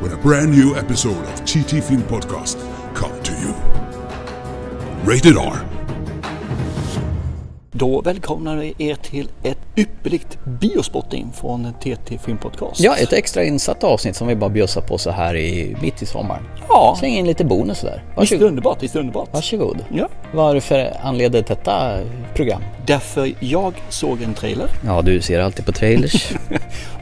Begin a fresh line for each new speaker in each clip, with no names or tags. when a brand new episode of TT Film Podcast come to you. Rated R.
Då välkomnar vi er till ett ypperligt biospotting från TT Filmpodcast.
Ja, ett extra insatt avsnitt som vi bara bjussar på så här i, mitt i sommaren.
Ja.
Släng in lite bonus där.
Visst är det
Varsågod.
underbart? Visst är det underbart?
Varsågod.
Ja.
Varför anleder detta program?
Därför jag såg en trailer
Ja, du ser alltid på trailers.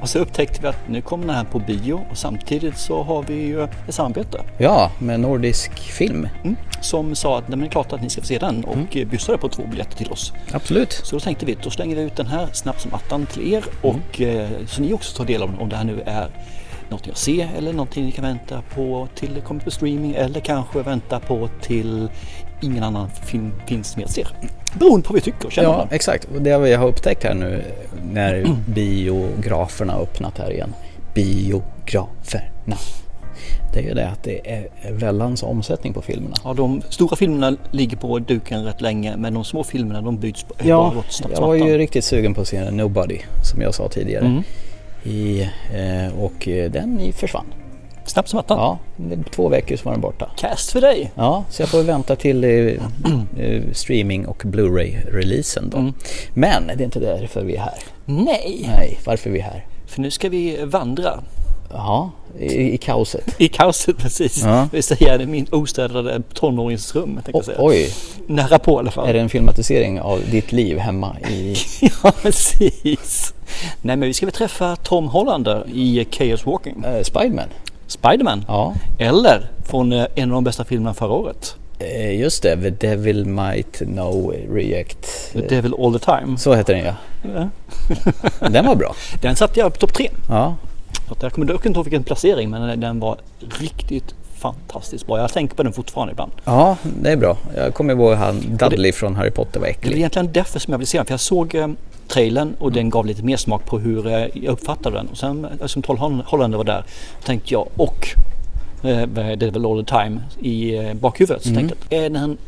och så upptäckte vi att nu kommer den här på bio och samtidigt så har vi ju ett samarbete
ja, med nordisk film.
mm. som sa att nej, men det är klart att ni ska få se den och mm. bjussade på två biljetter till oss.
Absolut.
Så då tänkte vi, då slänger vi ut den här snabbt som attan till er och
Mm.
eh, så ni också tar del av den om det här nu är någonting att se eller någonting ni kan vänta på till det kommer på streaming eller kanske vänta på till ingen annan film finns med ser. Beroende på vad vi tycker och känner.
Ja,
Ja.
exakt. Och det vi har upptäckt här nu när biograferna har öppnat här igen. Biograferna. Det är ju det att det är vällans omsättning på filmerna.
ja, de stora filmerna ligger på duken rätt länge men de små filmerna de byts på
Ja,
bara åt snabbt
jag
som
var ju
attan.
riktigt sugen på att se Nobody som jag sa tidigare.
Mm.
I, eh, och eh, den försvann.
Snabbt som attan.
Ja, det- två veckor så var den borta.
Cast för dig!
Ja, så jag får vänta till eh, eh, streaming och Blu-ray-releasen då.
Mm.
Men det är inte därför vi är här.
Nej,
Nej, varför är vi här?
för nu ska vi vandra
Ja, i, i kaoset.
i kaoset precis.
Ja.
Det vill säga min ostädade tonåringsrum. tänkte jag
O-
säga.
oj,
Nära på i alla fall.
är det en filmatisering av ditt liv hemma i...
ja, precis. Nej, men vi ska väl träffa Tom Hollander i Chaos Walking.
eh, Spiderman?
Spiderman.
Ja,
Eller från eh, en av de bästa filmerna förra året.
eh, just det. The Devil Might Know React.
The Devil All The Time.
Så heter den ja. Den var bra.
Den satte jag på topp tre.
Ja,
Så att jag kommer dock inte ihåg vilken placering, men den var riktigt fantastiskt bra. Jag tänker på den fortfarande ibland.
ja det är bra. Jag kommer ihåg han Dudley från Harry Potter var
Det var
äcklig.
egentligen därför som jag ville se den, för jag såg eh, trailern
Mm.
och den gav lite mer smak på hur eh, jag uppfattade den. Och sen eh, som Tom Holl- Hollander var där tänkte jag och eh, det är väl All the time i eh, bakhuvudet. Så
Mm.
tänkte jag, är den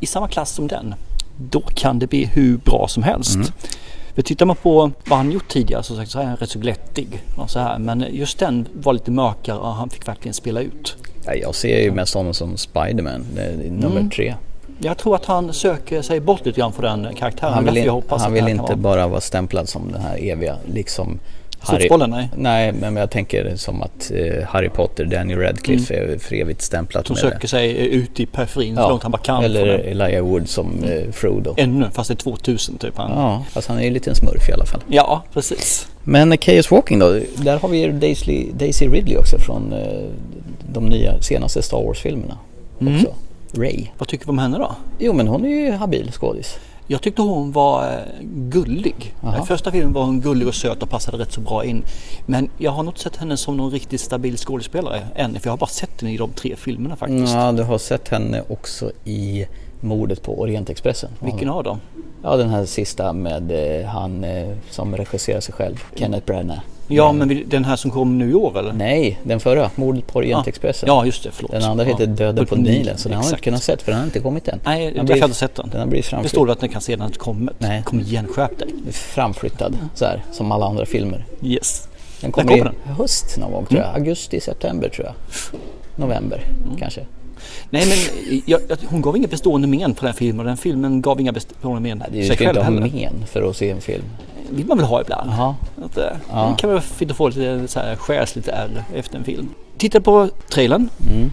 i samma klass som den, då kan det bli hur bra som helst.
Mm.
För tittar man på vad han gjort tidigare så, sagt, så är han rätt så glättig. Och så här. Men just den var lite mörkare och han fick verkligen spela ut.
Ja, jag ser ju mest honom som Spiderman, det är
Mm.
nummer tre.
Jag tror att han söker sig bort lite grann från den karaktären.
Han vill,
Därför jag
in,
hoppas
han
att
vill
det här kan
inte
vara-
bara vara stämplad som den här eviga, liksom
Soffbollen, nej.
Nej, men jag tänker som att eh, Harry Potter, Daniel Radcliffe är för evigt stämplat
Mm. Som
med
söker
det.
sig ut i periferin så långt han bara kan. från
Eller
den.
Elijah Wood som eh, Frodo.
Ännu, fast det är 2000 typ. Han. Ja.
Ja, fast han är ju en liten smurf i alla fall.
precis.
Men eh, Chaos Walking då, där har vi ju Daisy, Daisy Ridley också från eh, de nya senaste Star Wars-filmerna.
Mm.
Också. Ray.
Vad tycker vi om henne då?
Jo men hon är ju habil skådis.
Jag tyckte hon var eh, gullig.
Aha.
I första filmen var hon gullig och söt och passade rätt så bra in. Men jag har nog inte sett henne som någon riktigt stabil skådespelare än. För jag har bara sett henne i de tre filmerna faktiskt.
Ja, du har sett henne också i mordet på Orientexpressen.
Vilken av dem?
Ja, den här sista med eh, han eh, som regisserar sig själv, Kenneth Branagh.
Ja, men vi- den här som kom nu i år eller?
Nej, den förra, mordet på Orientexpressen.
Ja, just det. Förlåt.
Den andra heter
ja.
Döden på Nilen, så den har jag inte
Exakt.
kunnat sett för den har inte kommit än.
Nej,
Den
jag
blir-
har inte sett den.
Den har blivit
Det står
framflyttad,
det att den kan se när den inte kommit.
Nej.
Kom igen, skärp dig.
framflyttad så här, som alla andra filmer.
Yes.
Den Mm.
När
kommer i
kommer
höst någon gång tror jag, augusti, september tror jag. November kanske.
Nej men jag, jag, hon gav inga bestående men på den här filmen och den filmen gav inga bestående men
Det är ju
sig
ska inte
själv
ha
heller.
men för att se en film.
vill man väl ha ibland.
Jaha.
Att, eh, Det kan vara fint att få lite så här, skärs lite ärr efter en film. Titta på trailern.
Mm.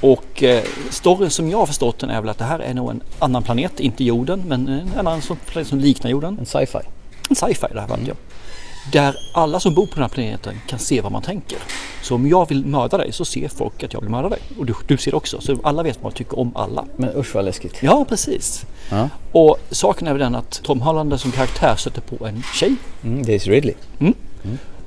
Och eh, storyn som jag har förstått den är väl att det här är nog en annan planet, inte jorden, men en annan som, planet som liknar jorden.
En sci-fi.
En sci-fi det här mm. jag. Där alla som bor på den här planeten kan se vad man tänker. Så om jag vill mörda dig så ser folk att jag vill mörda dig. Och du, du ser det också. Så alla vet vad man tycker om alla.
Men usch vad läskigt.
Ja, precis.
Ja.
Och saken är väl den att Tom Hollander som karaktär stöter på en tjej
Mm, Daisy Ridley.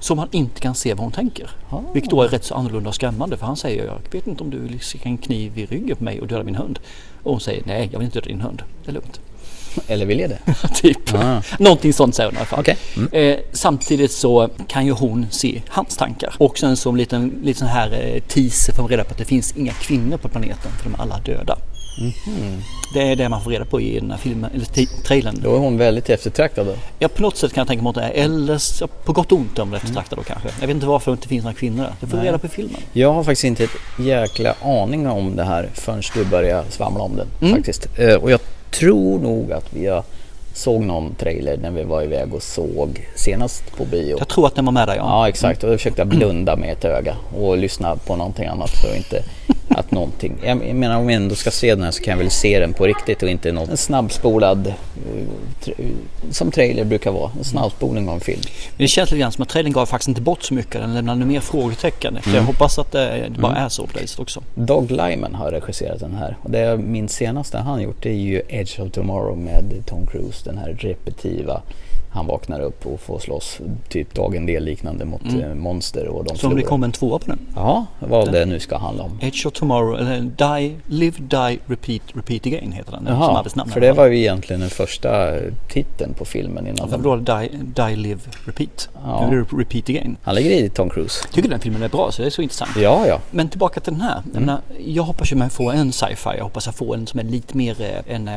Så man inte kan se vad hon tänker.
Ah.
Vilket då är rätt så annorlunda och skrämmande för han säger jag vet inte om du vill sticka en kniv i ryggen på mig och döda min hund. Och hon säger nej jag vill inte döda din hund. Det är lugnt.
Eller vill jag det?
typ.
Ah.
Någonting sånt säger hon i alla fall.
Okej. Mm.
Eh, samtidigt så kan ju hon se hans tankar. Och sen som liten, liten sån här eh, teaser får man reda på att det finns inga kvinnor på planeten för de är alla döda.
Mhm.
Det är det man får reda på i den här filmen, eller t- trailern.
Då är hon väldigt eftertraktad då.
Ja, på något sätt kan jag tänka mig att det är, eller s- på gott och
Mm.
ont om det eftertraktad då kanske. Jag vet inte varför det inte finns några kvinnor där. Det får vi reda på i filmen.
Jag har faktiskt inte ett jäkla aning om det här förrän du börjar svamla om den. faktiskt. Eh, Och jag tror nog att vi har- såg någon trailer när vi var iväg och såg senast på bio.
Jag tror att den var med där ja.
Ja exakt och jag försökte blunda med ett öga och lyssna på någonting annat för att inte att någonting. Jag menar om jag ändå ska se den här så kan jag väl se den på riktigt och inte någon en snabbspolad eh, tra- som trailer brukar vara. En snabbspolning av en film.
Men det känns lite grann som att trailern gav faktiskt inte bort så mycket. Den lämnade mer frågetecken. Så
Mm.
jag hoppas att det, det bara är så på det viset också.
Doug Liman har regisserat den här och det är min senaste han gjort det är ju Edge of Tomorrow med Tom Cruise. Den här repetitiva han vaknar upp och får slåss typ dagen del liknande mot eh, monster och de
Så om det
förlorar.
kommer en tvåa på den.
Ja, vad det nu ska handla om.
Edge of Tomorrow, eller Die, Live, Die, Repeat, Repeat Again heter den. som
Jaha,
arbetsnamn.
för det var ju egentligen den första titeln på filmen innan
Varför
den.
då die, die, Live, Repeat?
Ja.
Nu blir det Repeat Again.
Han ligger i Tom Cruise.
Jag tycker den filmen är bra så det är så intressant.
Ja, ja.
Men tillbaka till den här. Jag, menar, jag hoppas ju man får en sci-fi. Jag hoppas jag får en som är lite mer eh, en, eh,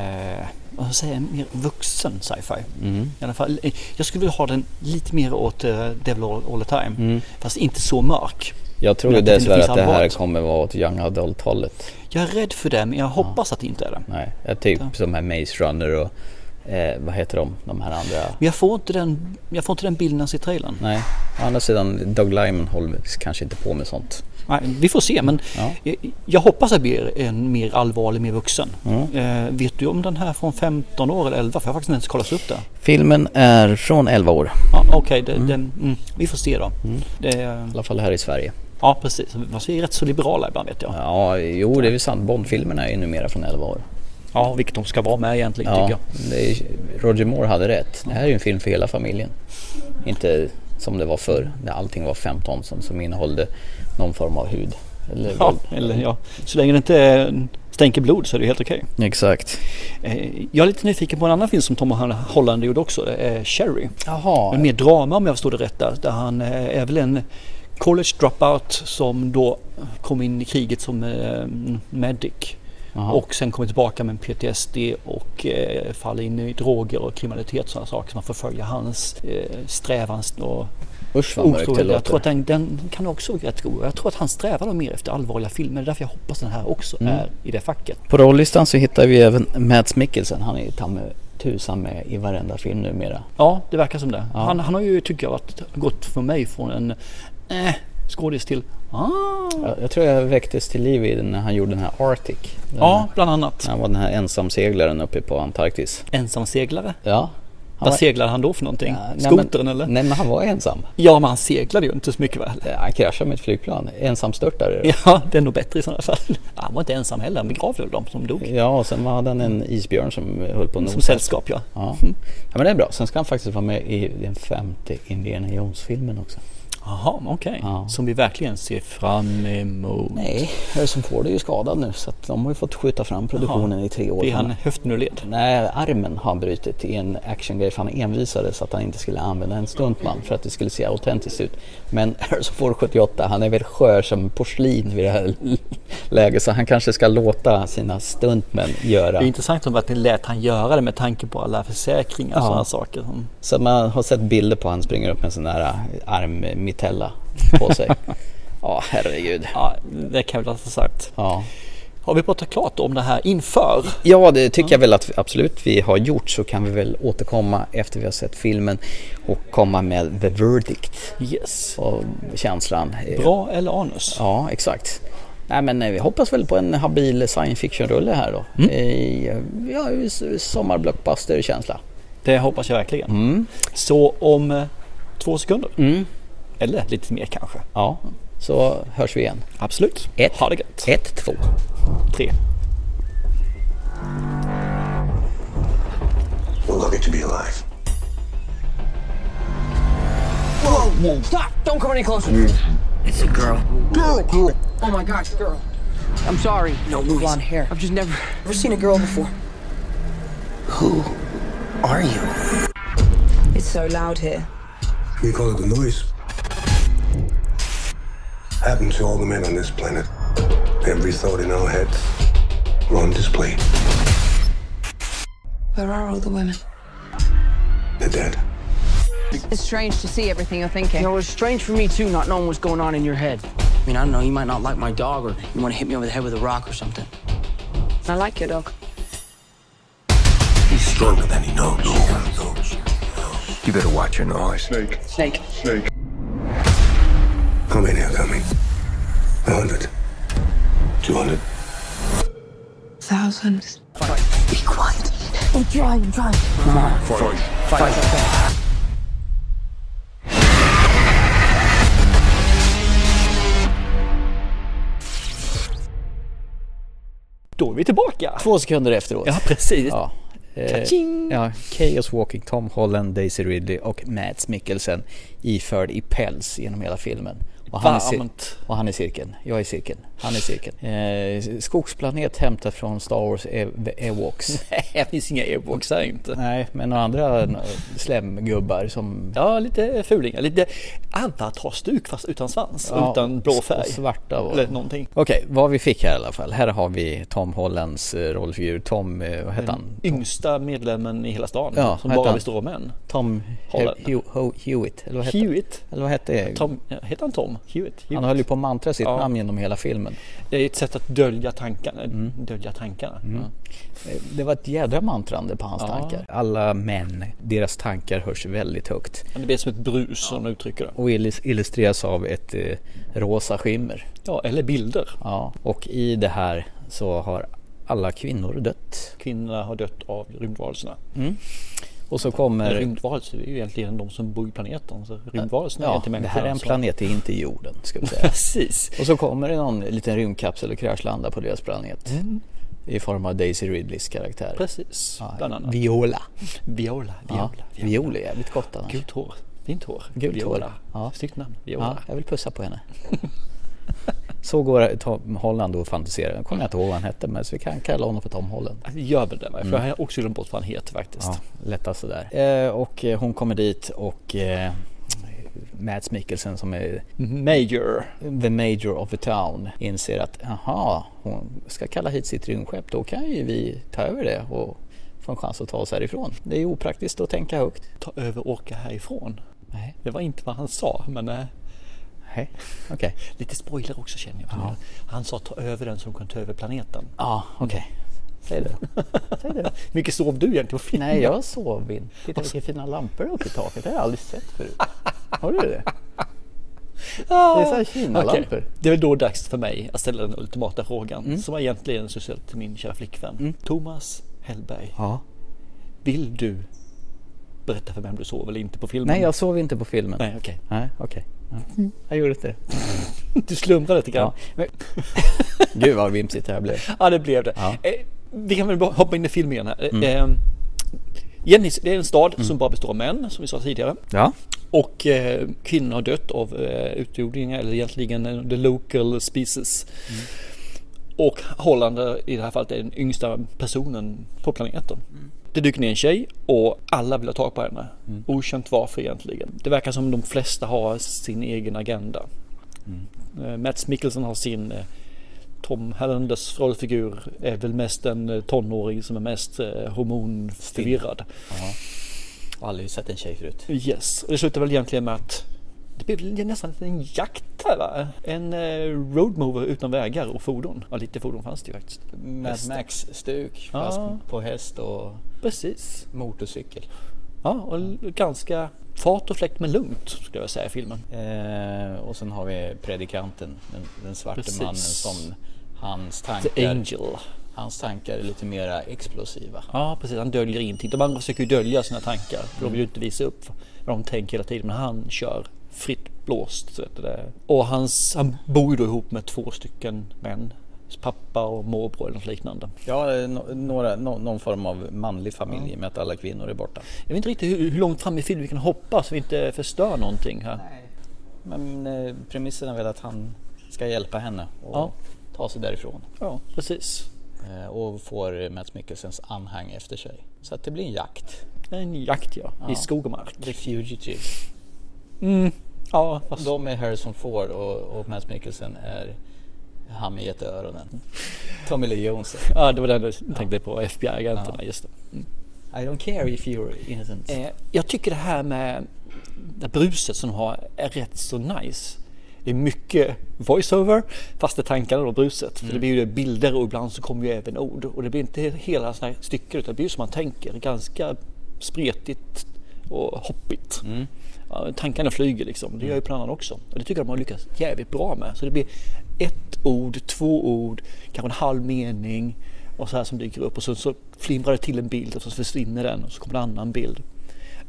vad ska jag säga, en mer vuxen sci-fi. I alla fall, eh, jag skulle vilja ha den lite mer åt eh, Devil All, All The Time.
Mm.
Fast inte så mörk.
Jag tror
Men
ju
att det
dessvärre
finns
att det här
allvaret.
kommer vara åt young adult-hållet.
Jag är rädd för det men jag hoppas att det inte är det.
Nej, jag typ som här Maze Runner och eh, vad heter de, de här andra.
Men jag får inte den, jag får inte den bilden när jag ser trailern.
Nej, å andra sidan Doug Liman håller kanske inte på med sånt.
Nej, vi får se men
Ja.
jag, jag hoppas att det blir en mer allvarlig, mer vuxen. Eh, vet du om den här från 15 år eller 11? För jag har faktiskt inte ens kollat upp det.
Filmen är från 11 år, i
Ja, Okej, det- den- mm, vi får se då. Det,
alla fall här i Sverige.
ja precis, fast vi är rätt så liberala ibland vet jag.
Ja, jo det är väl sant. Bond-filmerna är ju numera från 11 år.
Ja, vilket de ska vara med egentligen tycker
Ja,
jag.
det är, Roger Moore hade rätt. Det här är ju en film för hela familjen. Inte som det var förr, där allting var 15 som, som innehållde någon form av hud. Eller
Ja,
våld.
eller, ja. Så länge det inte stänker blod så är det helt okej.
Exakt.
Eh, Jag är lite nyfiken på en annan film som Tom Holland gjorde också, det är Sherry.
Jaha,
En mer drama om jag förstår det rätt där, där han eh, är väl en college dropout som då kom in i kriget som eh, medic.
Jaha.
Och sen kommer tillbaka med en PTSD och eh, faller in i droger och kriminalitet och sådana saker som man förföljer hans eh, strävan och
usch vad mörkt det
otrohet.
låter.
Jag tror att den, den kan också vara rätt god. Jag tror att han strävar nog mer efter allvarliga filmer. Det är därför jag hoppas den här också är i det facket.
På rollistan så hittar vi även Mads Mikkelsen. Han är ju ta med tusan med i varenda film numera.
Ja, det verkar som det. Han, han har ju, tycker jag, varit, gått för mig från en eh, skådis till ah,
Jag, jag tror jag väcktes till liv i den när han gjorde den här Arctic. Den,
Ja, bland annat.
när Han var den här ensamseglaren uppe på Antarktis.
Ensamseglare.
Ja. Han
Vad
var-
seglade han då för någonting?
Ja, nej, men-
Skotern eller?
Nej men han var ensam.
Ja, men han seglade ju inte så mycket väl.
Eh, Han kraschade med ett flygplan. Ensamstörtare.
Ja, det är nog bättre i sådana fall. Ja, Han var inte ensam heller, han begravde väl de som dog.
Ja, och sen hade han en isbjörn som höll på att
Som
nosa.
sällskap ja.
Ja. ja, men det är bra. Sen ska han faktiskt vara med i den femte Indiana Jones-filmen också.
Jaha, okej.
Ja.
Som vi verkligen ser fram emot.
Nej, eh, Harrison Ford är ju skadad nu så att de har ju fått skjuta fram produktionen i tre år.
Blir han höften ur led?
Nej, armen har han brutit i en actiongrej för han envisades att han inte skulle använda en stuntman för att det skulle se autentiskt ut. Men Harrison Ford 78, han är väl skör som porslin vid det här läget så han kanske ska låta sina stuntmän göra.
Det är intressant om att ni lät han göra det med tanke på alla försäkringar och
Ja.
sådana saker. som-
Så man har sett bilder på han springer upp med en sån där eh, armmitella på sig. Ja, herregud.
Ja, det kan jag väl ha sagt.
Ja.
Har vi pratat klart om det här inför?
ja, det tycker jag väl att vi, absolut vi har gjort så kan vi väl återkomma efter vi har sett filmen och komma med the verdict
Yes.
och känslan. Eh,
Bra eller anus?
Ja, exakt. Nej, men eh, vi hoppas väl på en habil science fiction-rulle här då. I, eh, ja, i s- sommarblockbuster-känsla.
Det hoppas jag verkligen.
Mm.
Så om eh, två sekunder. Eller lite mer kanske.
Ja, så hörs vi igen.
Absolut.
Ett.
Ha det gött.
1, 2.
Tre.
We're lucky to be alive. Whoa, whoa, stop! Don't come any closer.
It's a girl.
Girl, girl. Oh my gosh, girl. I'm sorry.
No movies.
Blonde hair. I've just never,
Never seen a girl before. Who are you?
It's so loud here.
We call it the noise. Happens to all the men on this planet. Every thought in our heads. We're on display.
Where are all the women?
They're dead.
It's strange to see everything you're thinking.
you know, it's strange for me too, not knowing what's going on in your head.
I mean, I don't know. You might not like my dog, or you want to hit me over the head with a rock or something.
I like your dog.
He's stronger than he knows. You better watch your noise. Snake.
Snake.
How many are coming? A hundred. Two hundred.
Thousands.
Be quiet.
Då är vi tillbaka.
Två sekunder efteråt.
Ja, precis.
Ja. Eh, ja, Chaos Walking, Tom Holland, Daisy Ridley och Mads Mikkelsen iförd i päls genom hela filmen. Och han, är cir-
Varmt.
och han är cirkeln. Jag är cirkeln. Han är cirkeln. Eh, skogsplanet hämtat från Star Wars Ew- Ewoks.
Det finns inga airbox här inte.
Nej, men några andra eh, slemgubbar som...
Ja, lite fulingar. Lite avatar-stuk fast utan svans.
Ja,
utan blå
och
färg.
Svarta var
Eller någonting.
Okej, vad vi fick här i alla fall. Här har vi Tom Hollands eh, rollfigur. Tom, eh, vad
Mm.
hette han?
Yngsta medlemmen i hela stan.
Ja,
som
vad
bara
heter
består av män.
Tom
Holland.
He- Hew- Ho- Hewitt, eller vad hette
Hewitt.
Eller vad hette
Tom, ja, heter han Tom? Hewitt? Hewitt.
Han höll ju på att mantra sitt
Ja.
namn genom hela filmen.
Det är ett sätt att dölja tankarna.
Mm.
Dölja tankarna. Ja.
Eh, Det var ett jädra mantrande på hans
Ja.
tankar. Alla män, deras tankar hörs väldigt högt
Men Det blir som ett brus som de uttrycker det.
och illus- illustreras av ett eh, rosa skimmer.
Ja, eller bilder.
Ja. Och i det här så har alla kvinnor dött.
Kvinnorna har dött av rymdvarelserna.
Och så kommer...
Rymdvarelser är ju egentligen de som bor i planeten. Så rymdvarelserna är
Ja,
inte
det
människor.
här är en
alltså.
planet, det är inte jorden, ska vi säga.
Precis.
Och så kommer det någon liten rymdkapsel och kraschlandar på deras planet. I form av Daisy Ridleys karaktär.
Mm. Precis.
Ja,
Bland annat.
Viola.
Viola.
Ja,
Viola.
Viola är jävligt gott annars.
Gult hår. Fint hår.
Gult
Viola.
hår, ja.
Snyggt namn.
Ja,
Viola.
jag vill pussa på henne. Så går Tom Holland och fantiserar. Jag kommer inte ihåg vad han hette men så vi kan kalla honom för Tom Holland.
Gör väl det. va? För Alltså, jag har också glömt bort vad han heter faktiskt.
Mm. Ja, lättast sådär. Eh, och eh, hon kommer dit och eh, Mads Mikkelsen som är
Major.
the major of the town inser att jaha, hon ska kalla hit sitt rymdskepp. Då kan ju vi ta över det och få en chans att ta oss härifrån. Det är ju opraktiskt att tänka högt.
Ta över och åka härifrån.
Nej,
Det var inte vad han sa men eh,
nej, okej.
lite spoiler också känner jag. Han sa ta över den som kan ta över planeten.
Ja, okej. Säg det. Säg det.
Mycket sov du egentligen på filmen?
Nej, jag sov inte. Titta vilka fina lampor uppe i taket. Det har jag aldrig sett förut. Har du det? Det är så här
Okej,
Kina-lampor. Mm.
Det är väl då dags för mig att ställa den ultimata frågan som jag egentligen skulle ställa till min kära flickvän. Thomas Hellberg,
Ja.
vill du berätta för vem du sov eller inte på filmen?
Nej, jag sov inte på filmen.
Nej, okej.
Nej, okej. Ja. Jag gjorde inte det.
Du slumrade lite grann.
Ja. Men... Gud vad vimsigt det här blev.
Ja, det blev det.
Ja. Mm.
Eh, vi kan väl bara hoppa in i filmen igen här. Eh, Jennys, det är en stad som bara består av män, som vi sa tidigare.
Ja.
Och eh, kvinnor har dött av eh, utrotningar, eller egentligen eh, the local species. Och Holland eh, i det här fallet är den yngsta personen på planeten. Det dyker ner en tjej och alla vill ha tag på henne. Okänt varför egentligen. Det verkar som de flesta har sin egen agenda. Eh, Mats Mikkelsen har sin eh, Tom Hallanders rollfigur är väl mest en eh, tonåring som är mest eh, hormonförvirrad.
Aldrig sett en tjej förut.
Yes, och det slutar väl egentligen med att det blir väl nästan en jakt här va? En eh, roadmover utan vägar och fordon. Ja, lite fordon fanns det ju faktiskt.
Mad Max-stuk fast
Ja.
på häst och
Precis.
motorcykel.
Ja, och l- ganska fart och fläkt men lugnt skulle jag säga i filmen.
Eh, och sen har vi predikanten, den, den svarte
Precis.
mannen som hans
The
tankar,
Angel.
hans tankar är lite mera explosiva.
Ja, precis. Han döljer ingenting. De andra försöker ju dölja sina tankar. För de vill ju inte visa upp vad de tänker hela tiden. Men han kör fritt blåst. så Vet du det. Och hans, han bor ju då ihop med två stycken män pappa och morbror eller något liknande.
Ja, eh, nå- några, nå- någon form av manlig familj i och med att alla kvinnor är borta.
Jag vet inte riktigt hur, hur långt fram i filmen vi kan hoppa så vi inte förstör någonting här.
Men eh, premissen är väl att han ska hjälpa henne och
Ja.
ta sig därifrån.
Ja, precis.
Eh, och får Mats Mikkelsens anhang efter sig. Så att det blir en jakt.
En jakt ja, i skog och mark.
The Fugitive.
Ja, fast
De är Harrison Ford och, och Mats Mikkelsen är han med jätteöronen. Tommy Lee Jones.
ja, det var den jag tänkte på, FBI-agenterna. Just det.
I don't care if you're innocent.
Eh, jag tycker det här med det bruset som de har är rätt så nice. Det är mycket voiceover fast det är tankarna och bruset. För det blir ju bilder och ibland så kommer ju även ord. Och det blir inte hela sådana här stycken utan det blir ju som man tänker. Ganska spretigt och hoppigt. Ja, tankarna flyger liksom. Det gör ju planen också. Och det tycker jag de har lyckats jävligt bra med. Så det blir ett ord, två ord, kanske en halv mening och så här som dyker upp och så, så flimrar det till en bild och så försvinner den och så kommer en annan bild.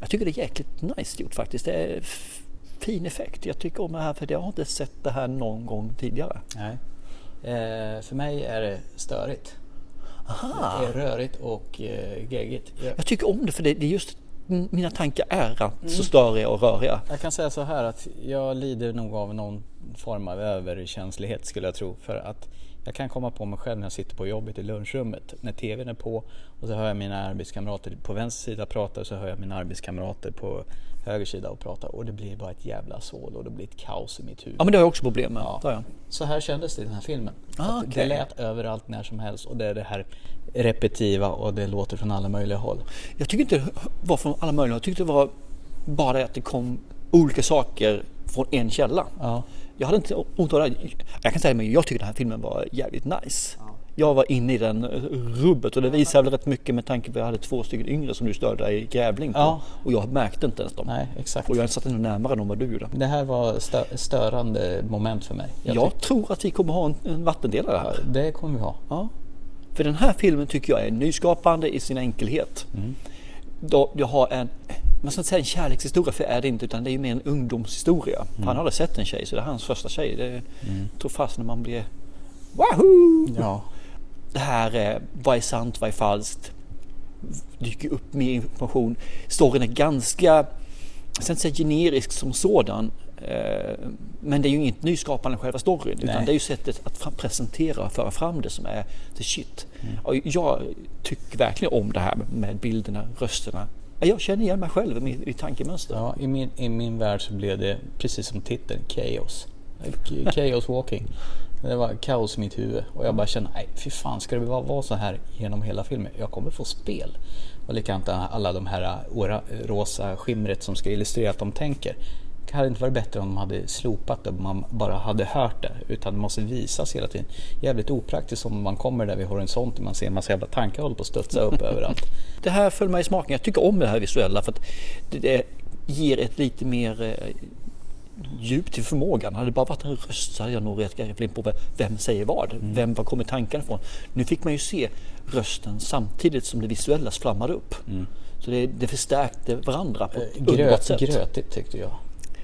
Jag tycker det är jäkligt nice gjort faktiskt. Det är f- fin effekt. Jag tycker om det här för jag har inte sett det här någon gång tidigare.
Nej. Eh, för mig är det störigt. Det är rörigt och eh, geggigt. Jag,
Jag tycker om det för det, det är just mina tankar är att så störiga och röriga.
jag kan säga så här att jag lider nog av någon form av överkänslighet skulle jag tro. För att jag kan komma på mig själv när jag sitter på jobbet i lunchrummet. När TVn är på och så hör jag mina arbetskamrater på vänster sida prata och så hör jag mina arbetskamrater på höger sida och prata. Och det blir bara ett jävla sål och det blir ett kaos i mitt huvud.
Ja men det har jag också problem med. Ja. jag.
Så här kändes det i den här filmen.
Ah,
Att
okej.
Det lät överallt när som helst och det är det här repetiva och det låter från alla möjliga håll.
Jag tycker inte det var från alla möjliga. Jag tyckte det var bara det att det kom olika saker från en källa.
Ja.
Jag hade inte ont av det. här. Jag kan säga men jag tycker den här filmen var jävligt nice. Jag var inne i den eh, rubbet och det visar väl rätt mycket med tanke på att jag hade två stycken yngre som du störde dig i grävling på.
Ja.
Och jag märkte inte ens dem.
Nej, exakt.
Och jag satt ändå närmare dem än vad du gjorde.
Det här var stö- störande moment för mig.
Jag,
tyck-
tror att vi kommer ha en, en vattendelare här.
det kommer vi ha.
Ja. För den här filmen tycker jag är nyskapande i sin enkelhet.
Mm.
Då, jag har en, man ska inte säga en kärlekshistoria för det är det inte utan det är ju mer en ungdomshistoria.
Mm.
Han har aldrig sett en tjej så det är hans första tjej. Det tror fast när man blir Wahoo!
Ja.
det här eh, vad är sant, vad är falskt? Dyker upp med information. Storyn är ganska, jag ska inte säga generisk som sådan, eh, men det är ju inget nyskapande i själva storyn utan
Nej.
det är ju sättet att fram- presentera och föra fram det som är the shit.
Mm.
Och jag tycker verkligen om det här med bilderna, rösterna. Jag känner igen mig själv i mitt mitt tankemönster.
ja i, min, I min värld så blev det precis som titeln, Chaos. K- Chaos Walking. Det var kaos i mitt huvud och jag bara kände, nej fy fan ska det bara vara så här genom hela filmen? Jag kommer få spel. Och likadant alla de här eh, ora, rosa skimret som ska illustrera att de tänker. Det hade inte varit bättre om de hade slopat det, om man bara hade hört det. Utan det måste visas hela tiden. Jävligt opraktiskt om man kommer där vid horisonten, man ser en massa jävla tankar håller på att studsa upp överallt.
Det här föll mig i smaken. Jag tycker om det här visuella för att det, det ger ett lite mer eh, djup till förmågan. Hade det bara varit en röst så hade jag nog rätt grepp på vem- vem säger vad.
Mm.
Vem, var kommer tankarna ifrån? Nu fick man ju se rösten samtidigt som det visuella flammade upp.
Mm.
Så det, det förstärkte varandra på ett underbart
Eh, Gröt,
sätt.
grötigt tyckte jag.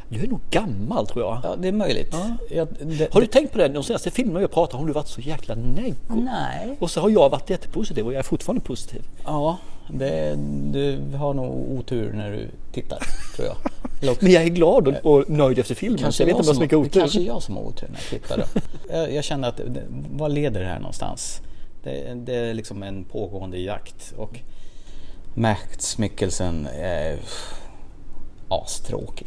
Du är nog gammal tror jag.
Ja, det är möjligt. Jag, det,
Har du tänkt på det? De senaste filmerna jag pratat om har du varit så jäkla neggo.
Nej.
Och så har jag varit jättepositiv och jag är fortfarande positiv.
Ja, det, du har nog otur när du tittar, tror jag. Eller också-
Men jag är glad och, och nöjd efter filmen. så jag vet inte om
jag
jag har
som-
så mycket
det
otur.
kanske är jag som har otur när jag tittar då. jag, jag känner att, det- vad leder det här någonstans? Det, det är liksom en pågående jakt och Mats Mikkelsen är astråkig.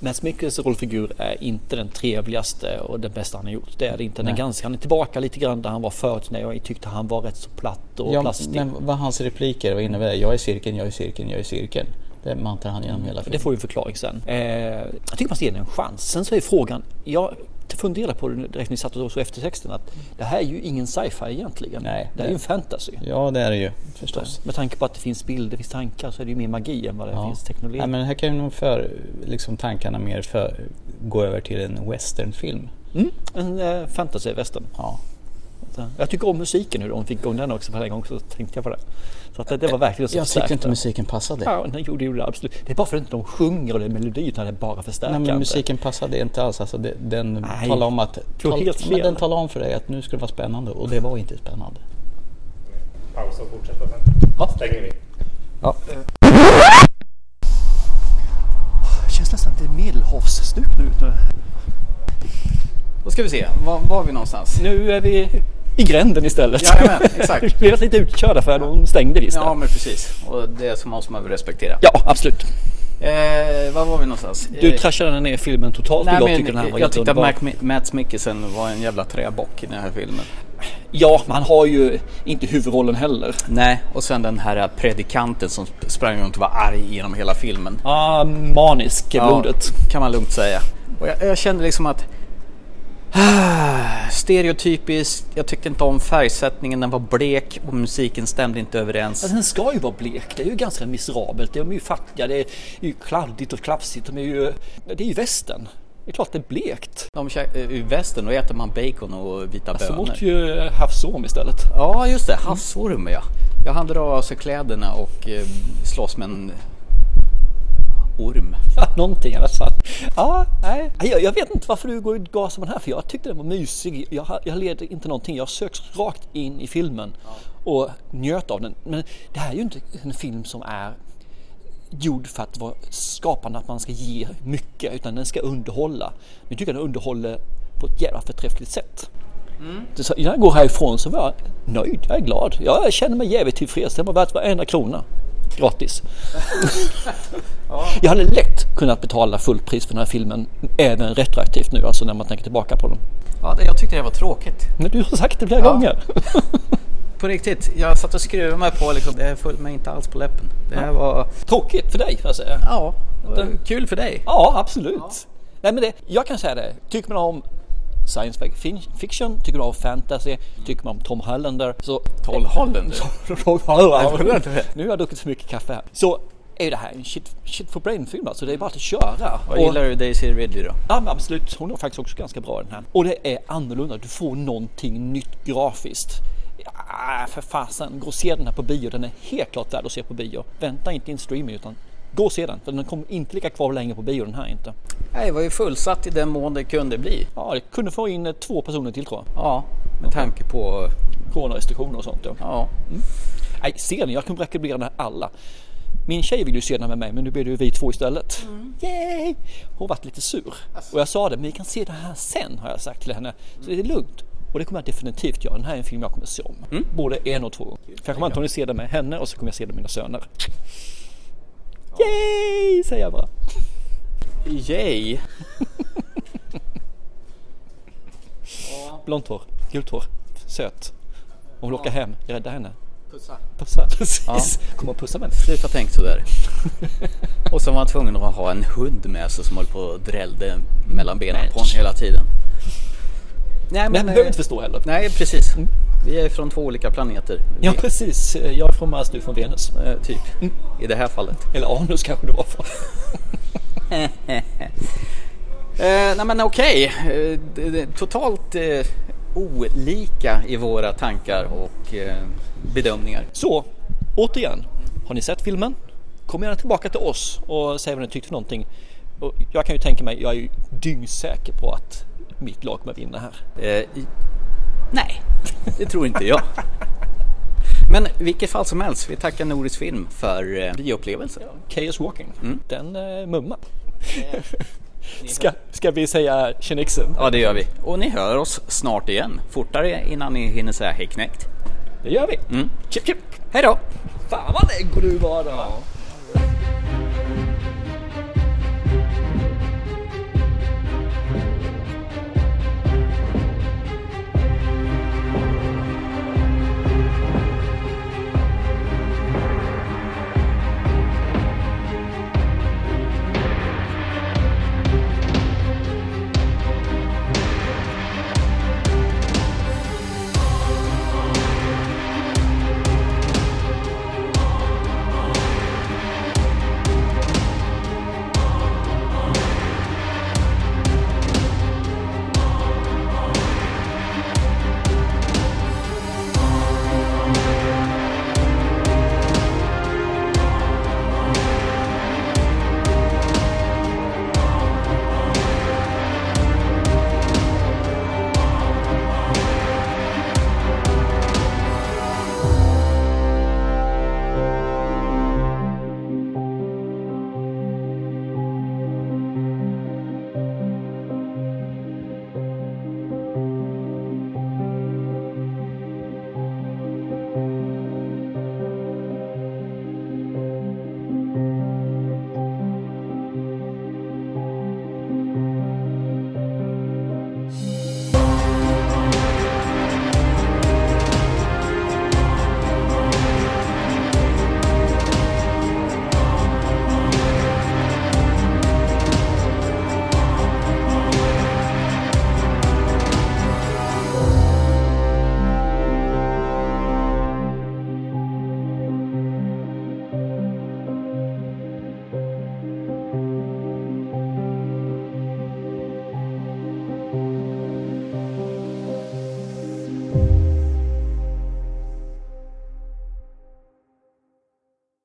Mats Mikkelsens rollfigur är inte den trevligaste och den bästa han har gjort. Det är det inte. Han är,
Nej.
ganska, han är tillbaka lite grann där han var förut när jag tyckte han var rätt så platt och
Ja,
plastig.
men vad hans repliker, vad innebär det? Jag är cirkeln, jag är cirkeln, jag är cirkeln. Det mantar han genom hela
Det
filmen.
får vi en förklaring sen. Eh, jag tycker man ska ge den en chans. Sen så är frågan, jag funderar på det nu direkt när vi satt och så efter texten att det här är ju ingen sci-fi egentligen.
Nej,
det här är ju
det-
en fantasy.
Ja, det är det ju förstås.
Med tanke på att det finns bilder, det finns tankar så är det ju mer magi än vad det
Ja.
finns teknologi.
Nej, men här kan ju nog för, liksom tankarna mer för, gå över till en westernfilm.
En eh, fantasy-western.
Ja.
att, eh, jag tycker om musiken hur de fick igång den också. Varje gång så tänkte jag på det. Så att det, det var verkligen så
Jag tyckte inte
förstärkte.
musiken passade.
Ja, den gjorde, gjorde det absolut. Det är bara för att de inte sjunger och det är melodi utan det är bara
Nej,
förstärkande.
men musiken passade inte alls. Alltså, det, den,
Nej.
talar om att,
Det var
tal,
helt
men
fel.
den talar om för dig att nu ska det vara spännande och det var inte spännande.
Pausa och fortsätta sen.
Ja.
Stänger vi.
känns nästan till medelhavsstup nu ute.
Då ska vi se, var var vi någonstans?
Nu är vi i gränden istället.
Jajamän, exakt.
vi blev lite utkörda för de stängde visst.
Ja
Ja,
men precis, och det som måste man väl respektera.
ja absolut.
Eh, var var vi någonstans?
Du
Eh,
trashade ner filmen totalt och
Nej,
jag
men,
tycker den här var
jag tyckte att
jätteunderbar.
Mac, Matt Mikkelsen var en jävla träbock i den här filmen.
Ja, man har ju inte huvudrollen heller.
Nej, och sen den här predikanten som sprang runt och var arg genom hela filmen.
Ah, manisk i blodet.
kan man lugnt säga. Och jag, jag kände liksom att ah, Stereotypiskt, jag tyckte inte om färgsättningen, den var blek och musiken stämde inte överens.
Ja, den ska ju vara blek. Det är ju ganska miserabelt. De är ju fattiga, det är ju kladdigt och klafsigt. De är ju... Det är ju västen. Det är klart det är blekt.
De kä- eh, I västern då äter man bacon och vita
Så
bönor.
åt Alltså, ju havsorm istället.
Ja just det, havsorm ja. Jag hann dra av sig kläderna och eh, slåss med en orm.
Ja, någonting i alla fall. Ja, nej. Jag, jag vet inte varför du går ut gas med den här för jag tyckte den var mysig. Jag, ha- jag led inte någonting. Jag söks rakt in i filmen och njöt av den. Men det här är ju inte en film som är gjord för att vara skapande, att man ska ge mycket utan den ska underhålla. Men jag tycker den underhåller på ett jävla förträffligt sätt. Så när jag går härifrån så var jag nöjd, jag är glad. Jag känner mig jävligt tillfreds. Det var värt varenda krona. Gratis. Jag hade lätt kunnat betala fullt pris för den här filmen även retroaktivt nu, alltså när man tänker tillbaka på den.
Ja, det, jag tyckte det var tråkigt.
Men du har sagt det flera gånger.
På riktigt, jag satt och skruvade mig på liksom, det föll mig inte alls på läppen. Det här var...
Tråkigt för dig, får jag säga.
Ja, kul för dig.
Ja, absolut. Nej, men det, jag kan säga det, tycker man om science fic- fiction, tycker man om fantasy, tycker man om Tom Hollander, så...
Tol Hollander?
Tom Hollander. nu har jag druckit för mycket kaffe här. Så är det här en shit, shit for brain-film alltså, det är bara att köra.
Vad gillar du Daisy Ridley då?
Ja men absolut, hon är faktiskt också ganska bra i den här. Och det är annorlunda, du får någonting nytt grafiskt. Ja, för fasen, gå och se den här på bio, den är helt klart värd att se på bio. Vänta inte in streaming utan gå och se den, för den kommer inte ligga kvar länge på bio den här inte.
Nej, det var ju fullsatt i den mån det kunde bli.
Ja, det kunde få in eh, två personer till tror jag.
Ja, med tanke på...
Coronarestriktioner och sånt ja.
Ja.
Nej, se den, jag kan rekommendera den här alla. Min tjej vill ju se den med mig men nu blir det ju vi två istället. Yay! Hon vart lite sur. Och jag sa det, men vi kan se den här sen har jag sagt till henne. Så det är lugnt. Och det kommer jag definitivt göra. Den här är en film jag kommer se om. Både en och två gånger. För jag kommer antagligen se den med henne och så kommer jag se den med mina söner. Yay! Säger jag bara.
Yay!
Blont hår, gult hår, söt. Hon vill åka hem, rädda henne.
Pussa.
Pussa, precis. Kommer och pussa med henne.
Sluta tänk sådär. Och så var han tvungen att ha en hund med sig som höll på och drällde mellan benen på honom hela tiden. Nej, eh,
Men jag behöver inte förstå heller.
Nej, precis. Vi är från två olika planeter.
Ja precis, jag är från Mars, du är från Venus.
Vi- eh, typ. I det här fallet.
Eller Anus kanske det var från.
Eh, nej men okej. Eh, d- d- totalt eh, olika i våra tankar och eh, bedömningar.
Så, återigen. Har ni sett filmen? Kom gärna tillbaka till oss och säg vad ni tyckte för någonting. Och jag kan ju tänka mig, jag är ju dyngsäker på att mitt lag kommer vinna här.
Eh, i- nej, det tror inte jag. Men i vilket fall som helst, vi tackar Nordisk Film för eh, bioupplevelsen.
Chaos Walking, den eh, mumma. ska, ska vi säga tjenixen?
Ja, det gör vi. Och ni hör oss snart igen. Fortare innan ni hinner säga hej knäckt.
Det gör vi. Mm. Chip, chip.
Hej då!
Fan vad lägger du var då.